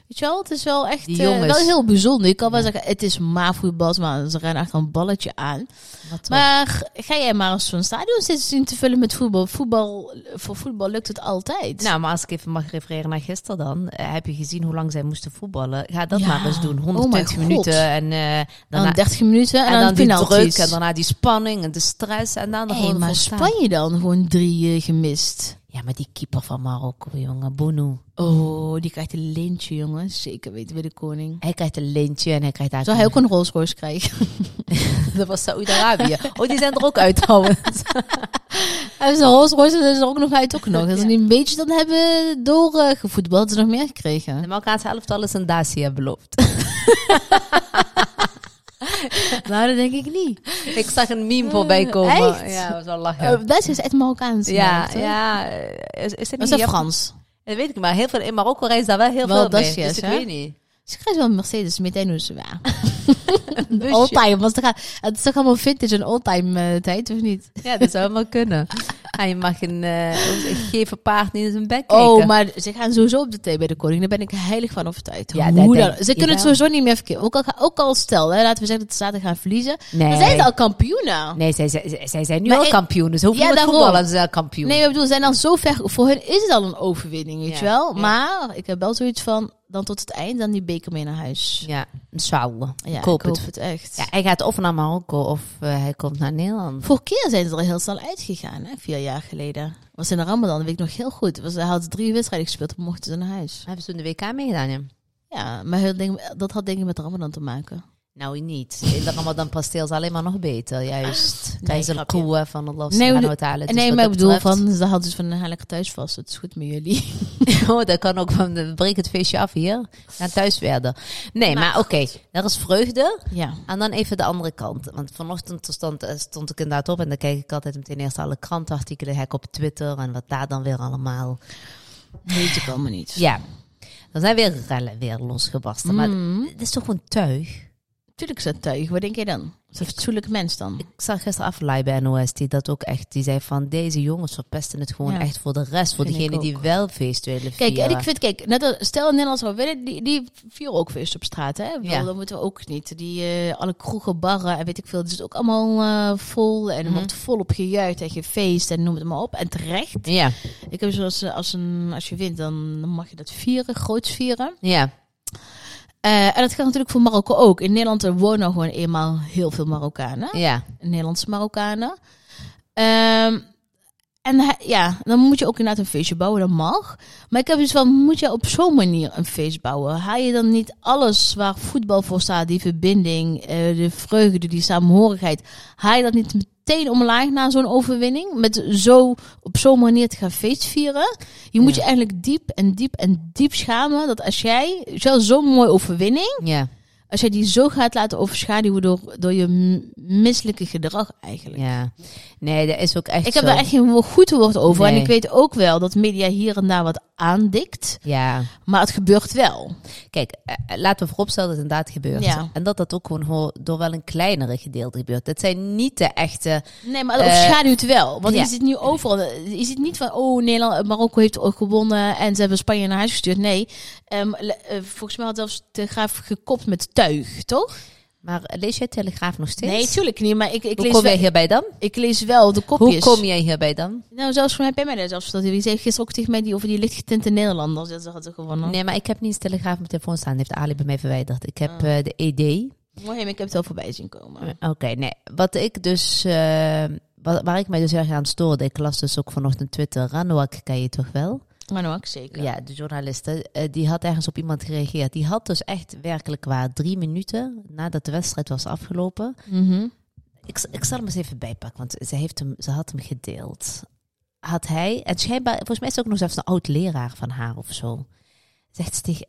Speaker 1: Weet je wel, het is wel echt
Speaker 2: Die
Speaker 1: eh,
Speaker 2: jongens.
Speaker 1: wel heel bijzonder. Ik kan wel
Speaker 2: Ja.
Speaker 1: zeggen, het is maar voetbal, maar ze rennen echt een balletje aan.
Speaker 2: Wat tof.
Speaker 1: Maar ga jij maar eens zo'n stadion zitten zien te vullen met voetbal. voetbal voor voetbal lukt het altijd.
Speaker 2: Nou, maar als ik even mag refereren naar gisteren dan. eh, heb je gezien hoe lang zij moesten voetballen? Ga dat
Speaker 1: Ja.
Speaker 2: maar eens doen.
Speaker 1: Oh mijn
Speaker 2: 120
Speaker 1: God.
Speaker 2: minuten en eh,
Speaker 1: dan
Speaker 2: daarna,
Speaker 1: 30 minuten en,
Speaker 2: en dan
Speaker 1: dan,
Speaker 2: nou die
Speaker 1: penalties.
Speaker 2: druk en daarna die spanning en de stress en dan nog
Speaker 1: Hey,
Speaker 2: gewoon
Speaker 1: maar
Speaker 2: volstaan.
Speaker 1: Spanje dan gewoon drie eh, gemist.
Speaker 2: Ja, maar die keeper van Marokko, jongen, Bono.
Speaker 1: Oh, die krijgt een lintje, jongens. Zeker weten bij de koning.
Speaker 2: Hij krijgt een lintje en hij krijgt daar.
Speaker 1: Zou hij ook een Rolls Royce krijgen?
Speaker 2: Dat was Saoedi-Arabië. Oh, die zijn er ook uit trouwens.
Speaker 1: Hij heeft een Rolls Royce en is er ook nog uit. Ook nog. Dat
Speaker 2: Ja.
Speaker 1: ze niet een beetje dan hebben doorgevoetbald. Ze nog meer gekregen.
Speaker 2: De Marokkaanse elftal is een Dacia beloofd.
Speaker 1: Nou, dat denk ik niet.
Speaker 2: Ik zag een meme voorbij komen.
Speaker 1: Echt?
Speaker 2: Ja, dat was wel lachen.
Speaker 1: Eh, Dat is echt Marokkaans.
Speaker 2: ja,
Speaker 1: nou, toch?
Speaker 2: ja. eh, Is, is het
Speaker 1: Dat
Speaker 2: niet
Speaker 1: is dat
Speaker 2: Jap-
Speaker 1: Frans.
Speaker 2: Dat weet ik, maar heel veel, in Marokko reist daar wel heel
Speaker 1: Wel
Speaker 2: veel mee.
Speaker 1: Dacia's,
Speaker 2: dus ik
Speaker 1: hè?
Speaker 2: weet niet.
Speaker 1: Ze krijgt wel een Mercedes, meteen hoe ze waar.
Speaker 2: Een busje.
Speaker 1: Oldtime, want ze gaan- het is toch allemaal vintage en oldtime eh, tijd, of niet?
Speaker 2: Ja, dat zou helemaal kunnen. En je mag een, eh, een geven paard niet in zijn bek kijken.
Speaker 1: Oh, maar ze gaan sowieso op de thee bij de koning. Daar ben ik heilig van overtuigd.
Speaker 2: Ja, dat
Speaker 1: Hoe dan?
Speaker 2: denk
Speaker 1: Ze
Speaker 2: ik
Speaker 1: kunnen het
Speaker 2: wel.
Speaker 1: sowieso niet meer verkeren. Ook al, ga- ook al stel, hè, laten we zeggen dat de Staten gaan verliezen.
Speaker 2: nee.
Speaker 1: Dan zijn ze al nou. kampioenen.
Speaker 2: Nee, zij, zij, zij- zij zijn nu
Speaker 1: Oh. Maar
Speaker 2: al
Speaker 1: ik-
Speaker 2: kampioen. Dus hoeveel
Speaker 1: Ja,
Speaker 2: ja, met
Speaker 1: daarom.
Speaker 2: voetballen ze zijn al kampioen.
Speaker 1: Nee, ik bedoel, ze zijn al zo ver. Voor hen is het al een overwinning, weet
Speaker 2: Ja,
Speaker 1: je wel.
Speaker 2: ja.
Speaker 1: Maar ik heb wel zoiets van, dan tot het eind, dan die beker mee naar huis.
Speaker 2: Ja, inshallah.
Speaker 1: Ja,
Speaker 2: ik hoop
Speaker 1: ik hoop
Speaker 2: het.
Speaker 1: het, echt.
Speaker 2: Ja, hij gaat of naar Marokko of eh, hij komt naar Nederland.
Speaker 1: Vorige keer zijn ze er heel snel uitgegaan, hè? vier jaar geleden. Was in de Ramadan, dat weet ik nog heel goed. Was, hij had drie wedstrijden gespeeld, mochten ze naar huis.
Speaker 2: Hebben ze toen de WK meegedaan, ja?
Speaker 1: Ja, maar heel ding- dat had denk ik met de Ramadan te maken.
Speaker 2: Nou, niet. In de Ramadan pasteel is alleen maar nog beter, juist. Tijdens een
Speaker 1: Ah, grapje.
Speaker 2: koe eh, van Allah
Speaker 1: Nee,
Speaker 2: subhanahu
Speaker 1: we-
Speaker 2: wa ta'ala. Dus
Speaker 1: nee,
Speaker 2: wat
Speaker 1: maar ik
Speaker 2: dat
Speaker 1: bedoel,
Speaker 2: betreft-
Speaker 1: van, ze hadden dus van, ga lekker thuis vast, het is goed met jullie.
Speaker 2: Oh, dat kan ook van, eh, breek het feestje af hier. Naar thuis verder. Nee,
Speaker 1: Nou,
Speaker 2: maar oké. Er is vreugde.
Speaker 1: Ja.
Speaker 2: En dan even de andere kant. Want vanochtend stond, eh, stond ik inderdaad op en dan kijk ik altijd meteen eerst alle krantenartikelen. Hek op Twitter en wat daar dan weer allemaal.
Speaker 1: Weet ik allemaal niet.
Speaker 2: Ja. Er zijn weer rellen weer losgebarsten.
Speaker 1: Mm.
Speaker 2: Maar het is toch gewoon tuig?
Speaker 1: Tuurlijk is dat tuig, wat denk jij dan? Is een fatsoenlijk mens dan?
Speaker 2: Ik zag gisteren aflaai bij NOS die dat ook echt. Die zei van deze jongens verpesten het gewoon
Speaker 1: Ja.
Speaker 2: echt voor de rest. Voor
Speaker 1: Vind ik
Speaker 2: degenen die
Speaker 1: ook.
Speaker 2: wel feest willen vieren.
Speaker 1: Kijk, en ik vind, kijk, net als, stel Nederland zou willen, die, die vieren ook feest op straat, hè? Wel,
Speaker 2: Ja.
Speaker 1: Dat moeten we ook niet. Die eh, alle kroegen, barren en weet ik veel, het is ook allemaal eh, vol en er wordt volop gejuicht en gefeest en noem het maar op. En terecht.
Speaker 2: Ja,
Speaker 1: Ik heb zoals eh, als, een, als je wint, dan mag je dat vieren, groots vieren.
Speaker 2: ja.
Speaker 1: Eh, en dat geldt natuurlijk voor Marokko ook. In Nederland eh, wonen gewoon eenmaal heel veel Marokkanen.
Speaker 2: ja.
Speaker 1: Nederlandse Marokkanen. Ehm, en hij- ja, dan moet je ook inderdaad een feestje bouwen, dat mag. Maar ik heb dus van, moet je op zo'n manier een feest bouwen? Haal je dan niet alles waar voetbal voor staat, die verbinding, eh, de vreugde, die samenhorigheid, haal je dat niet meteen omlaag na zo'n overwinning? Met zo, op zo'n manier te gaan feestvieren? Je moet
Speaker 2: Ja.
Speaker 1: je eigenlijk diep en diep en diep schamen dat als jij, zelfs zo'n mooie overwinning,
Speaker 2: Ja,
Speaker 1: als jij die zo gaat laten overschaduwen door, door je m- misselijke gedrag eigenlijk.
Speaker 2: ja. Nee, dat is ook echt
Speaker 1: Ik heb
Speaker 2: zo.
Speaker 1: daar echt geen wo- goed woord over. En
Speaker 2: Nee.
Speaker 1: ik weet ook wel dat media hier en daar wat aandikt.
Speaker 2: Ja.
Speaker 1: Maar het gebeurt wel.
Speaker 2: Kijk, eh, eh, laten we vooropstellen dat het inderdaad gebeurt.
Speaker 1: Ja.
Speaker 2: En dat dat ook gewoon ho- door wel een kleinere gedeelte gebeurt. Het zijn niet de echte...
Speaker 1: Nee, maar het
Speaker 2: Eh,
Speaker 1: overschaduwt wel. Want
Speaker 2: ja.
Speaker 1: je ziet nu overal. Je ziet niet van, oh, Nederland, Marokko heeft ook gewonnen en ze hebben Spanje naar huis gestuurd. Nee, Ehm, le- eh, volgens mij had zelfs Telegraaf gekopt met tuig, toch?
Speaker 2: Maar eh, lees jij Telegraaf nog steeds?
Speaker 1: Nee, tuurlijk niet. Maar ik, ik,
Speaker 2: Hoe
Speaker 1: lees,
Speaker 2: kom jij
Speaker 1: wel,
Speaker 2: hierbij dan?
Speaker 1: ik lees wel de
Speaker 2: Hoe
Speaker 1: kopjes.
Speaker 2: kom jij hierbij dan?
Speaker 1: Nou, zelfs voor mij bij mij daar zelfs dat hij zei gisteren ook tegen mij die over die lichtgetinte Nederlanders dat ze hadden gewonnen.
Speaker 2: Nee, maar ik heb niet eens Telegraaf op mijn telefoon staan. Die heeft Ali bij mij verwijderd. Ik heb
Speaker 1: Ah.
Speaker 2: eh, de ED.
Speaker 1: Mooi, maar ik heb het wel voorbij zien komen.
Speaker 2: Oké, nee. Wat ik dus, eh, wa- waar ik mij dus erg aan stoorde, ik las dus ook vanochtend Twitter, Ranouak ken je toch wel?
Speaker 1: Maar nou ook zeker.
Speaker 2: Ja, de journaliste, eh, die had ergens op iemand gereageerd. Die had dus echt werkelijk waar drie minuten nadat de wedstrijd was afgelopen.
Speaker 1: Mhm.
Speaker 2: Ik, z- ik zal hem eens even bijpakken, want ze, heeft hem, ze had hem gedeeld. Had hij, en schijnbaar, volgens mij is het ook nog zelfs een oud leraar van haar of zo. Zegt ze tegen,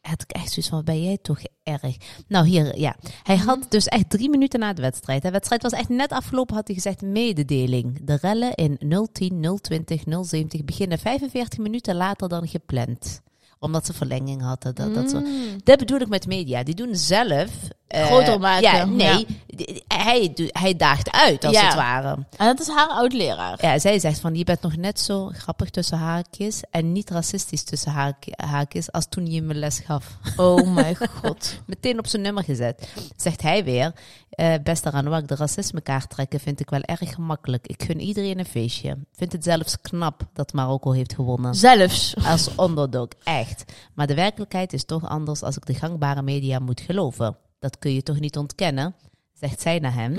Speaker 2: had ik echt zoiets van, ben jij toch erg? Nou hier, ja. Hij
Speaker 1: Mhm.
Speaker 2: had dus echt drie minuten na de wedstrijd. De wedstrijd was echt net afgelopen, had hij gezegd, mededeling. De rellen in 010, 020, 070 beginnen 45 minuten later dan gepland. Omdat ze verlenging hadden. Dat, dat soort-
Speaker 1: Mm.
Speaker 2: dat bedoel ik met media. Die doen zelf eh,
Speaker 1: Groter maken,
Speaker 2: Ja, nee.
Speaker 1: ja.
Speaker 2: D- Hij, do- hij daagt uit, als
Speaker 1: Ja.
Speaker 2: het ware.
Speaker 1: En dat is haar oud-leraar.
Speaker 2: Ja, zij zegt van, je bent nog net zo grappig tussen haakjes en niet racistisch tussen haak- haakjes als toen je me les gaf.
Speaker 1: Oh mijn god.
Speaker 2: Meteen op zijn nummer gezet. Zegt hij weer, eh beste Ranwak, de racismekaart trekken vind ik wel erg gemakkelijk. Ik gun iedereen een feestje. Vind het zelfs knap dat Marokko heeft gewonnen.
Speaker 1: Zelfs.
Speaker 2: Als onderdog, echt. Maar de werkelijkheid is toch anders als ik de gangbare media moet geloven. Dat kun je toch niet ontkennen, zegt zij naar hem.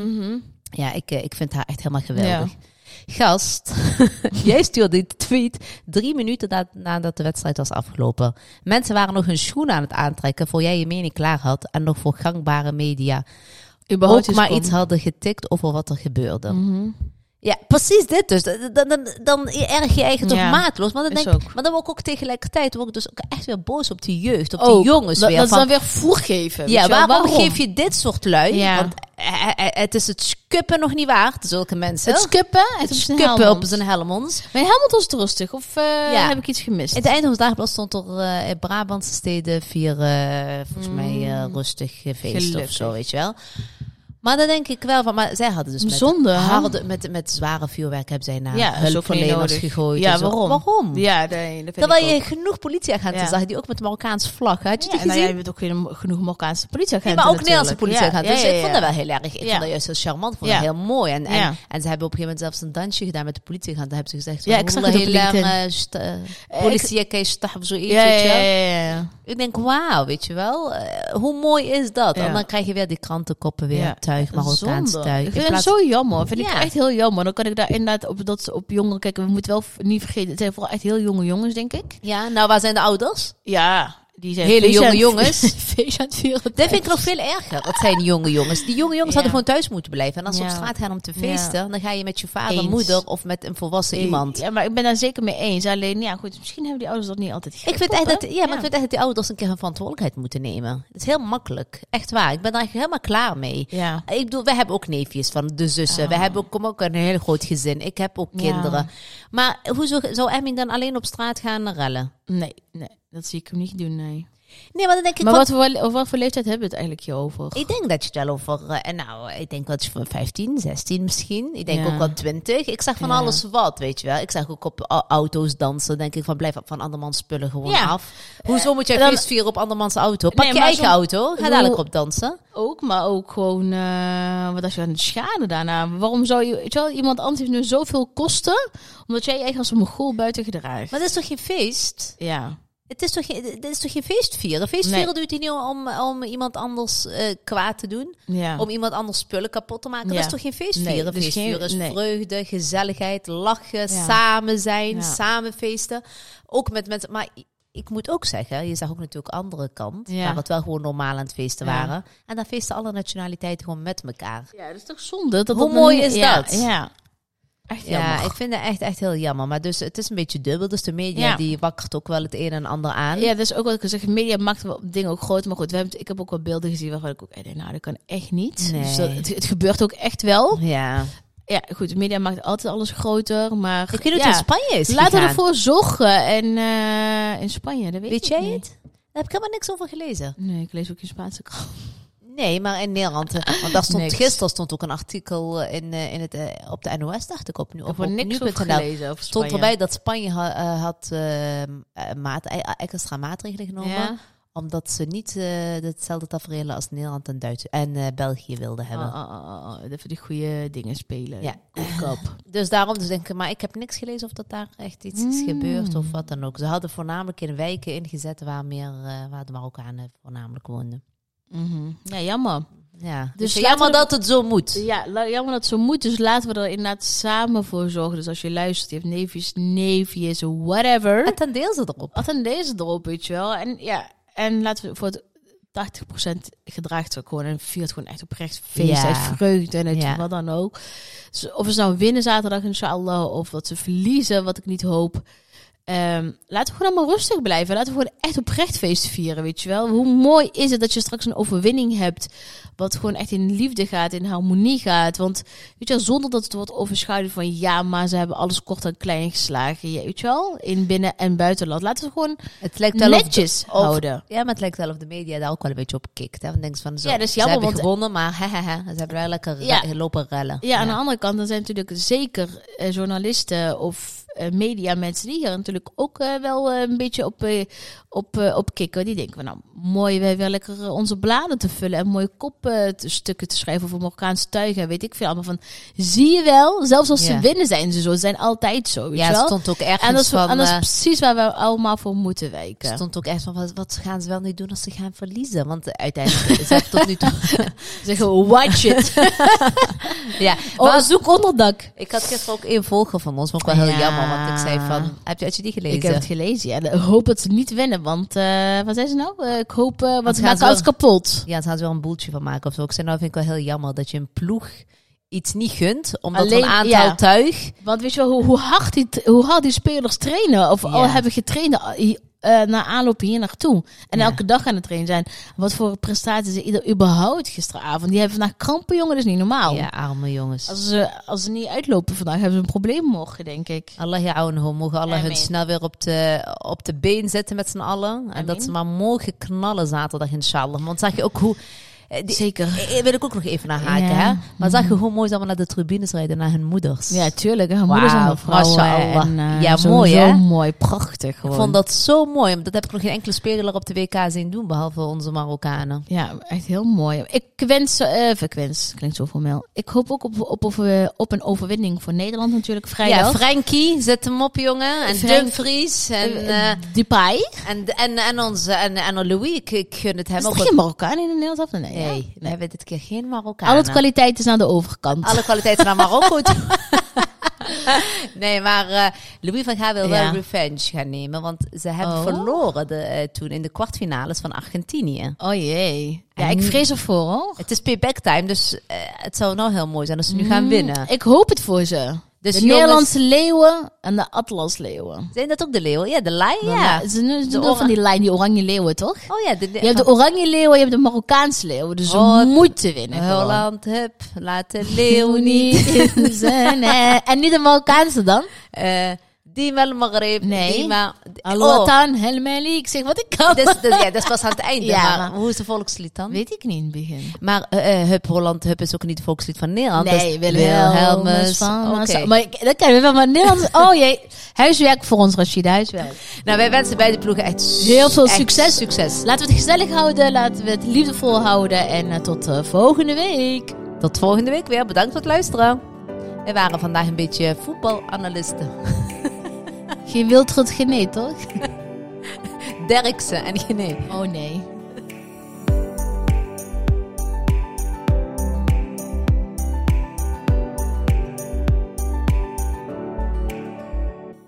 Speaker 2: Ja, ik, eh, ik vind haar echt helemaal geweldig. Gast, jij stuurde die tweet drie minuten na- nadat de wedstrijd was afgelopen. Mensen waren nog hun schoenen aan het aantrekken voor jij je mening klaar had en nog voor gangbare media
Speaker 1: Überhaupt
Speaker 2: ook
Speaker 1: is
Speaker 2: maar
Speaker 1: kom.
Speaker 2: iets hadden getikt over wat er gebeurde.
Speaker 1: Mhm.
Speaker 2: Ja, precies dit dus. Dan, dan, dan erg je eigen toch
Speaker 1: Ja,
Speaker 2: maatloos. Maar dan,
Speaker 1: is
Speaker 2: denk, ik-
Speaker 1: ook.
Speaker 2: maar dan word ik ook tegelijkertijd word ik dus ook echt weer boos op die jeugd, op
Speaker 1: Ook.
Speaker 2: die jongens
Speaker 1: dat,
Speaker 2: weer.
Speaker 1: Dat
Speaker 2: van,
Speaker 1: ze Oh, dan weer voer geven. weet
Speaker 2: ja,
Speaker 1: je wel.
Speaker 2: waarom, geef je dit soort lui?
Speaker 1: Ja.
Speaker 2: Want eh, eh, eh, het is het skuppen nog niet waard, zulke mensen.
Speaker 1: Het skippen? Het,
Speaker 2: Het
Speaker 1: is een
Speaker 2: skuppen
Speaker 1: Helmond.
Speaker 2: op zijn helmons.
Speaker 1: Mijn Helmond was het rustig. Of eh,
Speaker 2: Ja.
Speaker 1: heb ik iets gemist?
Speaker 2: In het Eindhoven Dagblad stond er eh, in Brabantse steden vier, eh, volgens mij, eh, rustig eh, feest
Speaker 1: Gelukkig.
Speaker 2: of zo, weet je wel. Maar dan denk ik wel van, maar zij hadden dus met,
Speaker 1: Zonde, hè?
Speaker 2: harde, met, met zware vuurwerk hebben zij naar
Speaker 1: Ja, is ook niet
Speaker 2: hulpverleners
Speaker 1: nodig.
Speaker 2: gegooid.
Speaker 1: Ja,
Speaker 2: en zo.
Speaker 1: waarom?
Speaker 2: Waarom?
Speaker 1: Ja, nee, dat vind
Speaker 2: Terwijl
Speaker 1: ik
Speaker 2: je
Speaker 1: ook.
Speaker 2: genoeg politieagenten
Speaker 1: Ja.
Speaker 2: zag die ook met Marokkaans vlag. Had je
Speaker 1: Ja,
Speaker 2: die
Speaker 1: en nou,
Speaker 2: gezien?
Speaker 1: jij bent ook weer een- genoeg Marokkaanse politieagenten
Speaker 2: Nee, maar ook Nederlandse
Speaker 1: natuurlijk.
Speaker 2: politieagenten.
Speaker 1: Ja,
Speaker 2: dus
Speaker 1: ja, ja,
Speaker 2: ik vond
Speaker 1: ja.
Speaker 2: dat wel heel erg. Ik
Speaker 1: Ja.
Speaker 2: vond dat juist heel charmant. Ik vond dat
Speaker 1: Ja.
Speaker 2: heel mooi. En, en,
Speaker 1: Ja.
Speaker 2: en ze hebben op een gegeven moment zelfs een dansje gedaan met de politieagenten. Daar hebben ze gezegd... "Oh,
Speaker 1: Ja, ik zag het op LinkedIn. Eh, ik-
Speaker 2: Politie, kan je staf zo iets,
Speaker 1: Ja,
Speaker 2: weet je
Speaker 1: ja,
Speaker 2: wel.
Speaker 1: ja, ja.
Speaker 2: Ik denk, wauw, weet je wel, eh, hoe mooi is dat?
Speaker 1: Ja.
Speaker 2: En dan krijg je weer die krantenkoppen weer,
Speaker 1: Ja.
Speaker 2: tuig, Marokkaans
Speaker 1: Zonde.
Speaker 2: tuig.
Speaker 1: Ik
Speaker 2: In
Speaker 1: vind het
Speaker 2: plaats-
Speaker 1: zo jammer. Vind ik
Speaker 2: Ja.
Speaker 1: echt heel jammer. Dan kan ik daar inderdaad op dat ze op jongeren kijken. We moeten wel v- niet vergeten. Het zijn vooral echt heel jonge jongens, denk ik.
Speaker 2: Ja, nou, waar zijn de ouders?
Speaker 1: Ja, die zijn
Speaker 2: Hele
Speaker 1: feest
Speaker 2: jonge
Speaker 1: aan-
Speaker 2: jongens.
Speaker 1: feest aan het vieren.
Speaker 2: Dat vind ik nog veel erger. Dat zijn jonge jongens. Die jonge jongens
Speaker 1: Ja.
Speaker 2: hadden gewoon thuis moeten blijven. En als ze
Speaker 1: Ja.
Speaker 2: op straat gaan om te feesten, dan ga je met je vader,
Speaker 1: Eens.
Speaker 2: moeder of met een volwassen iemand.
Speaker 1: Ja, maar ik ben daar zeker mee eens. Alleen, ja, goed, misschien hebben die ouders dat niet altijd
Speaker 2: Ik vind, echt dat, ja, maar ik vind echt dat die ouders een keer hun verantwoordelijkheid moeten nemen. Het is heel makkelijk. Echt waar. Ik ben daar helemaal klaar mee.
Speaker 1: Ja.
Speaker 2: Ik bedoel, wij hebben ook neefjes van de zussen. Wij hebben ook, kom ook uit een heel groot gezin. Ik heb ook
Speaker 1: Ah. Ja.
Speaker 2: kinderen. Maar hoezo zou Emming dan alleen op straat gaan en rellen?
Speaker 1: Nee, nee, dat zie ik hem niet doen, nee.
Speaker 2: Nee, maar dan denk ik...
Speaker 1: maar
Speaker 2: wat-
Speaker 1: wat, voor, over wat voor leeftijd hebben we het eigenlijk hier over?
Speaker 2: Ik denk dat je het wel over... eh, en nou, ik denk wat je van 15, 16 misschien. Ik denk
Speaker 1: Ja.
Speaker 2: ook wel 20. Ik zag van
Speaker 1: Ja.
Speaker 2: alles wat, weet je wel. Ik zag ook op au- auto's dansen. denk ik van, blijf van andermans spullen gewoon
Speaker 1: Ja.
Speaker 2: af. Hoezo moet jij
Speaker 1: dan-
Speaker 2: feest vieren op andermans auto? Pak je
Speaker 1: maar
Speaker 2: eigen
Speaker 1: zo'n-
Speaker 2: auto. Ga
Speaker 1: bedoel-
Speaker 2: dadelijk op dansen.
Speaker 1: Ook, maar ook gewoon, eh, wat als je aan de schade daarna. Waarom zou je, weet je wel, iemand anders heeft nu zoveel kosten, omdat jij je eigen als een mogol buiten gedraagt.
Speaker 2: Maar dat is toch geen feest?
Speaker 1: Ja.
Speaker 2: Het is toch, geen- dit is toch geen feest vieren? Feest
Speaker 1: Nee.
Speaker 2: vieren doe je het niet om, om iemand anders eh, kwaad te doen.
Speaker 1: ja.
Speaker 2: Om iemand anders spullen kapot te maken.
Speaker 1: Ja.
Speaker 2: Dat is toch geen feest
Speaker 1: Nee,
Speaker 2: vieren?
Speaker 1: dus
Speaker 2: feest
Speaker 1: geen-
Speaker 2: vieren is
Speaker 1: nee.
Speaker 2: vreugde, gezelligheid, lachen,
Speaker 1: Ja.
Speaker 2: samen zijn,
Speaker 1: Ja.
Speaker 2: samen feesten. Ook met mensen. Maar i- ik moet ook zeggen, je zag ook natuurlijk andere kant.
Speaker 1: Ja.
Speaker 2: Waar het wel gewoon normaal aan het feesten
Speaker 1: Ja.
Speaker 2: waren. En daar feesten alle nationaliteiten gewoon met elkaar.
Speaker 1: ja, dat is toch zonde? Dat
Speaker 2: Hoe
Speaker 1: dat dan
Speaker 2: mooi
Speaker 1: niet-
Speaker 2: is
Speaker 1: ja,
Speaker 2: dat?
Speaker 1: Ja. Echt
Speaker 2: Ja,
Speaker 1: jammer.
Speaker 2: ik vind het echt, echt heel jammer. Maar dus het is een beetje dubbel. Dus de media
Speaker 1: Ja.
Speaker 2: die wakkert ook wel het een en ander aan.
Speaker 1: Ja, dat is ook wat ik zeg. Media maakt wel dingen ook groot. Maar goed, we hebben, ik heb ook wel beelden gezien waarvan ik ook echt denk, nou, dat kan echt niet.
Speaker 2: Nee.
Speaker 1: Dus dat, het, het gebeurt ook echt wel.
Speaker 2: Ja.
Speaker 1: Ja, goed, media maakt altijd alles groter. Maar
Speaker 2: Ik weet niet
Speaker 1: ja,
Speaker 2: hoe het in Spanje is
Speaker 1: laten we
Speaker 2: gegaan.
Speaker 1: ervoor zorgen. En eh, in Spanje, dat weet,
Speaker 2: Weet
Speaker 1: ik
Speaker 2: jij
Speaker 1: niet.
Speaker 2: het? Daar heb ik helemaal niks over gelezen.
Speaker 1: Nee, ik lees ook in Spaanse krant.
Speaker 2: Nee, maar in Nederland. eh, Want daar stond
Speaker 1: Niks.
Speaker 2: gisteren stond ook een artikel eh, in, eh, in het, eh, op de NOS, dacht ik op nu.
Speaker 1: Ik
Speaker 2: Op,
Speaker 1: heb
Speaker 2: op
Speaker 1: er niks over
Speaker 2: nu.nl.
Speaker 1: gelezen. over
Speaker 2: Stond
Speaker 1: Spanje.
Speaker 2: erbij dat Spanje ha- eh, had eh, eh, maat, eh, extra maatregelen genomen.
Speaker 1: Ja.
Speaker 2: Omdat ze niet eh, hetzelfde tafereel als Nederland en, Duits en eh, België wilden hebben.
Speaker 1: Oh, oh, oh, oh, Even die goede dingen spelen.
Speaker 2: Ja.
Speaker 1: Kop.
Speaker 2: Dus daarom dus denk ik, maar ik heb niks gelezen of dat daar echt iets is gebeurd of wat dan ook. Ze hadden voornamelijk in wijken ingezet waar, meer, eh, waar de Marokkanen voornamelijk woonden.
Speaker 1: Mhm. Ja, jammer.
Speaker 2: Ja.
Speaker 1: Dus
Speaker 2: Dus,
Speaker 1: laten
Speaker 2: jammer
Speaker 1: we de-
Speaker 2: dat het zo moet.
Speaker 1: Ja, la- jammer dat het zo moet. Dus laten we er inderdaad samen voor zorgen. Dus als je luistert, je hebt neefjes, neefjes, whatever.
Speaker 2: En dan deel ze erop.
Speaker 1: Wat een deze erop, weet je wel. En, ja, en laten we voor het 80% gedraagt ook gewoon. En viert gewoon echt oprecht feest
Speaker 2: Ja.
Speaker 1: uit vreugde en uit
Speaker 2: Ja.
Speaker 1: wat dan ook. Dus of ze nou winnen zaterdag, inshallah. Of dat ze verliezen, wat ik niet hoop. Ehm, laten we gewoon allemaal rustig blijven. Laten we gewoon echt oprecht feest vieren, weet je wel. Hoe mooi is het dat je straks een overwinning hebt... wat gewoon echt in liefde gaat, in harmonie gaat. Want weet je wel, zonder dat het wordt overschaduwd van... ja, maar ze hebben alles kort en klein geslagen. Ja, weet je wel, in binnen- en buitenland. Laten we gewoon
Speaker 2: Het lijkt wel of-
Speaker 1: netjes
Speaker 2: of-
Speaker 1: houden.
Speaker 2: Ja, maar het lijkt wel of de media daar ook wel een beetje op kikt. Hè? Want denkt van zo,
Speaker 1: Ja, dat is
Speaker 2: ze
Speaker 1: jammer,
Speaker 2: hebben
Speaker 1: want-
Speaker 2: gewonnen, maar hehehe, ze hebben wel lekker re-
Speaker 1: Ja.
Speaker 2: lopen rellen.
Speaker 1: Ja, nou, aan de andere kant, dan zijn natuurlijk zeker eh, journalisten of eh, media mensen die hier natuurlijk ook eh, wel eh, een beetje op, eh, op, eh, op kikken. Die denken van nou, mooi, wij willen lekker eh, onze bladen te vullen en mooie kopstukken te schrijven over Marokkaanse tuigen en weet ik veel allemaal van. Zie je wel, zelfs als ze
Speaker 2: Ja.
Speaker 1: winnen zijn ze zo, ze zijn altijd zo, weet
Speaker 2: Ja,
Speaker 1: je
Speaker 2: het
Speaker 1: wel.
Speaker 2: stond ook ergens
Speaker 1: en dat is,
Speaker 2: van...
Speaker 1: en dat is
Speaker 2: eh,
Speaker 1: precies waar we allemaal voor moeten
Speaker 2: Er
Speaker 1: wijken.
Speaker 2: stond ook echt van, wat, wat gaan ze wel niet doen als ze gaan verliezen? Want eh, uiteindelijk, ze hebben tot nu toe...
Speaker 1: Zeggen, watch it.
Speaker 2: ja,
Speaker 1: Oh,
Speaker 2: maar-
Speaker 1: zoek onderdak.
Speaker 2: ik had gisteren ook een volger van ons, vond ik wel heel
Speaker 1: Ja.
Speaker 2: jammer. Want ik zei van, heb je, had je die gelezen?
Speaker 1: Ik heb het gelezen. Ja. Ik hoop dat ze niet winnen, want eh, wat zijn ze nou? Eh, ik hoop, eh want ze
Speaker 2: gaan
Speaker 1: maken
Speaker 2: ze
Speaker 1: alles kapot.
Speaker 2: Ja, daar gaan ze wel een boeltje van maken of zo. Ik zei, nou vind ik wel heel jammer dat je een ploeg iets niet gunt. Omdat er
Speaker 1: Alleen-
Speaker 2: een aantal
Speaker 1: ja.
Speaker 2: tuig...
Speaker 1: Want weet je wel, hoe, hoe, hard, die, hoe hard die spelers trainen, of
Speaker 2: Ja.
Speaker 1: al hebben getraind eh, eh, naar aanloop hier naartoe. En
Speaker 2: Ja.
Speaker 1: elke dag aan het trainen zijn. Wat voor prestaties ze ieder überhaupt gisteravond. Die hebben vandaag krampen, jongen, dat is niet normaal.
Speaker 2: Ja, arme jongens.
Speaker 1: Als, ze, als ze niet uitlopen vandaag, hebben ze een probleem morgen, denk ik.
Speaker 2: Allah je oude mogen Allah
Speaker 1: Amen.
Speaker 2: hun snel weer op de, op de been zetten met z'n allen. En dat ze maar mogen knallen zaterdag, inshallah. Want zag je ook hoe... eh, Die,
Speaker 1: Zeker.
Speaker 2: eh, wil ik ook nog even naar haken,
Speaker 1: Ja.
Speaker 2: hè? Maar zag je hoe mooi ze allemaal naar de tribunes rijden, naar hun moeders?
Speaker 1: Ja, tuurlijk. Haar moeder is
Speaker 2: Wauw,
Speaker 1: allemaal vrouwen.
Speaker 2: mashallah.
Speaker 1: En, eh,
Speaker 2: Ja,
Speaker 1: zo-
Speaker 2: mooi, hè?
Speaker 1: Zo mooi, prachtig
Speaker 2: ik
Speaker 1: gewoon.
Speaker 2: vond dat zo mooi. want Dat heb ik nog geen enkele speler op de WK zien doen, behalve onze Marokkanen.
Speaker 1: Ja, echt heel mooi. Ik wens, eh of ik wens, klinkt zo formeel. Ik hoop ook op, op, op, eh, op een overwinning voor Nederland natuurlijk
Speaker 2: Ja,
Speaker 1: vrijdag.
Speaker 2: Frankie, zet hem op, jongen. En
Speaker 1: Frank-
Speaker 2: Dumfries. En, eh,
Speaker 1: Eh, Depay.
Speaker 2: en, en, en, onze, en, en Louis. Ik, ik gun het hem
Speaker 1: Is er
Speaker 2: ook.
Speaker 1: geen Marokkaan in de Nederlands af? Nee,
Speaker 2: Nee,
Speaker 1: ja?
Speaker 2: we hebben dit keer geen Marokkanen.
Speaker 1: Al het kwaliteit is aan de overkant.
Speaker 2: alle kwaliteiten naar Marokko toe. nee, maar eh, Louis van Gaal wil
Speaker 1: Ja.
Speaker 2: wel revenge gaan nemen. Want ze hebben
Speaker 1: Oh.
Speaker 2: verloren de, eh, toen in de kwartfinales van Argentinië.
Speaker 1: Oh jee. Ja,
Speaker 2: En-
Speaker 1: ik vrees ervoor hoor.
Speaker 2: Het is payback time, dus eh, het zou nou heel mooi zijn als ze nu gaan winnen.
Speaker 1: Ik hoop het voor ze.
Speaker 2: Dus
Speaker 1: de
Speaker 2: jongens-
Speaker 1: Nederlandse leeuwen en de Atlas leeuwen.
Speaker 2: Zijn dat ook de leeuwen? Ja, de lijn, ja.
Speaker 1: Ze- Ze noemen ze noemen
Speaker 2: ora-
Speaker 1: van die lijn, die oranje leeuwen toch?
Speaker 2: Oh ja, de,
Speaker 1: Je hebt de oranje leeuwen, je hebt de Marokkaanse leeuwen. Dus ze
Speaker 2: Oh,
Speaker 1: moeten winnen. gewoon.
Speaker 2: Holland, hup, laat de
Speaker 1: Leeuw
Speaker 2: leeuw niet.
Speaker 1: niet in zijn hè. En niet de Marokkaanse dan?
Speaker 2: Eh die wel Maghreb,
Speaker 1: Nee.
Speaker 2: die maar... Oh,
Speaker 1: Allotan, Helmeli, ik zeg wat ik kan.
Speaker 2: dus, dus, ja, dat is pas aan het einde.
Speaker 1: Ja,
Speaker 2: maar,
Speaker 1: maar-
Speaker 2: hoe is de volkslied dan?
Speaker 1: Weet ik niet in het begin.
Speaker 2: Maar eh, eh, Hup Holland Hup is ook niet het volkslied van Nederland. dat is
Speaker 1: Nee, Wilhelmus. van
Speaker 2: Oké.
Speaker 1: Nassau. Maar ik- dat kennen we wel, maar Nederlands... Oh jee, huiswerk voor ons Rashida, huiswerk.
Speaker 2: Nou, wij wensen beide ploegen echt
Speaker 1: Heel veel
Speaker 2: echt
Speaker 1: succes.
Speaker 2: succes.
Speaker 1: Laten we het gezellig houden, laten we het liefdevol houden. En eh, tot eh, volgende week.
Speaker 2: Tot volgende week weer. Bedankt voor het luisteren. We waren vandaag een beetje voetbalanalisten.
Speaker 1: Geen wildrot, geen nee, toch?
Speaker 2: Derksen en Gené.
Speaker 1: Oh nee.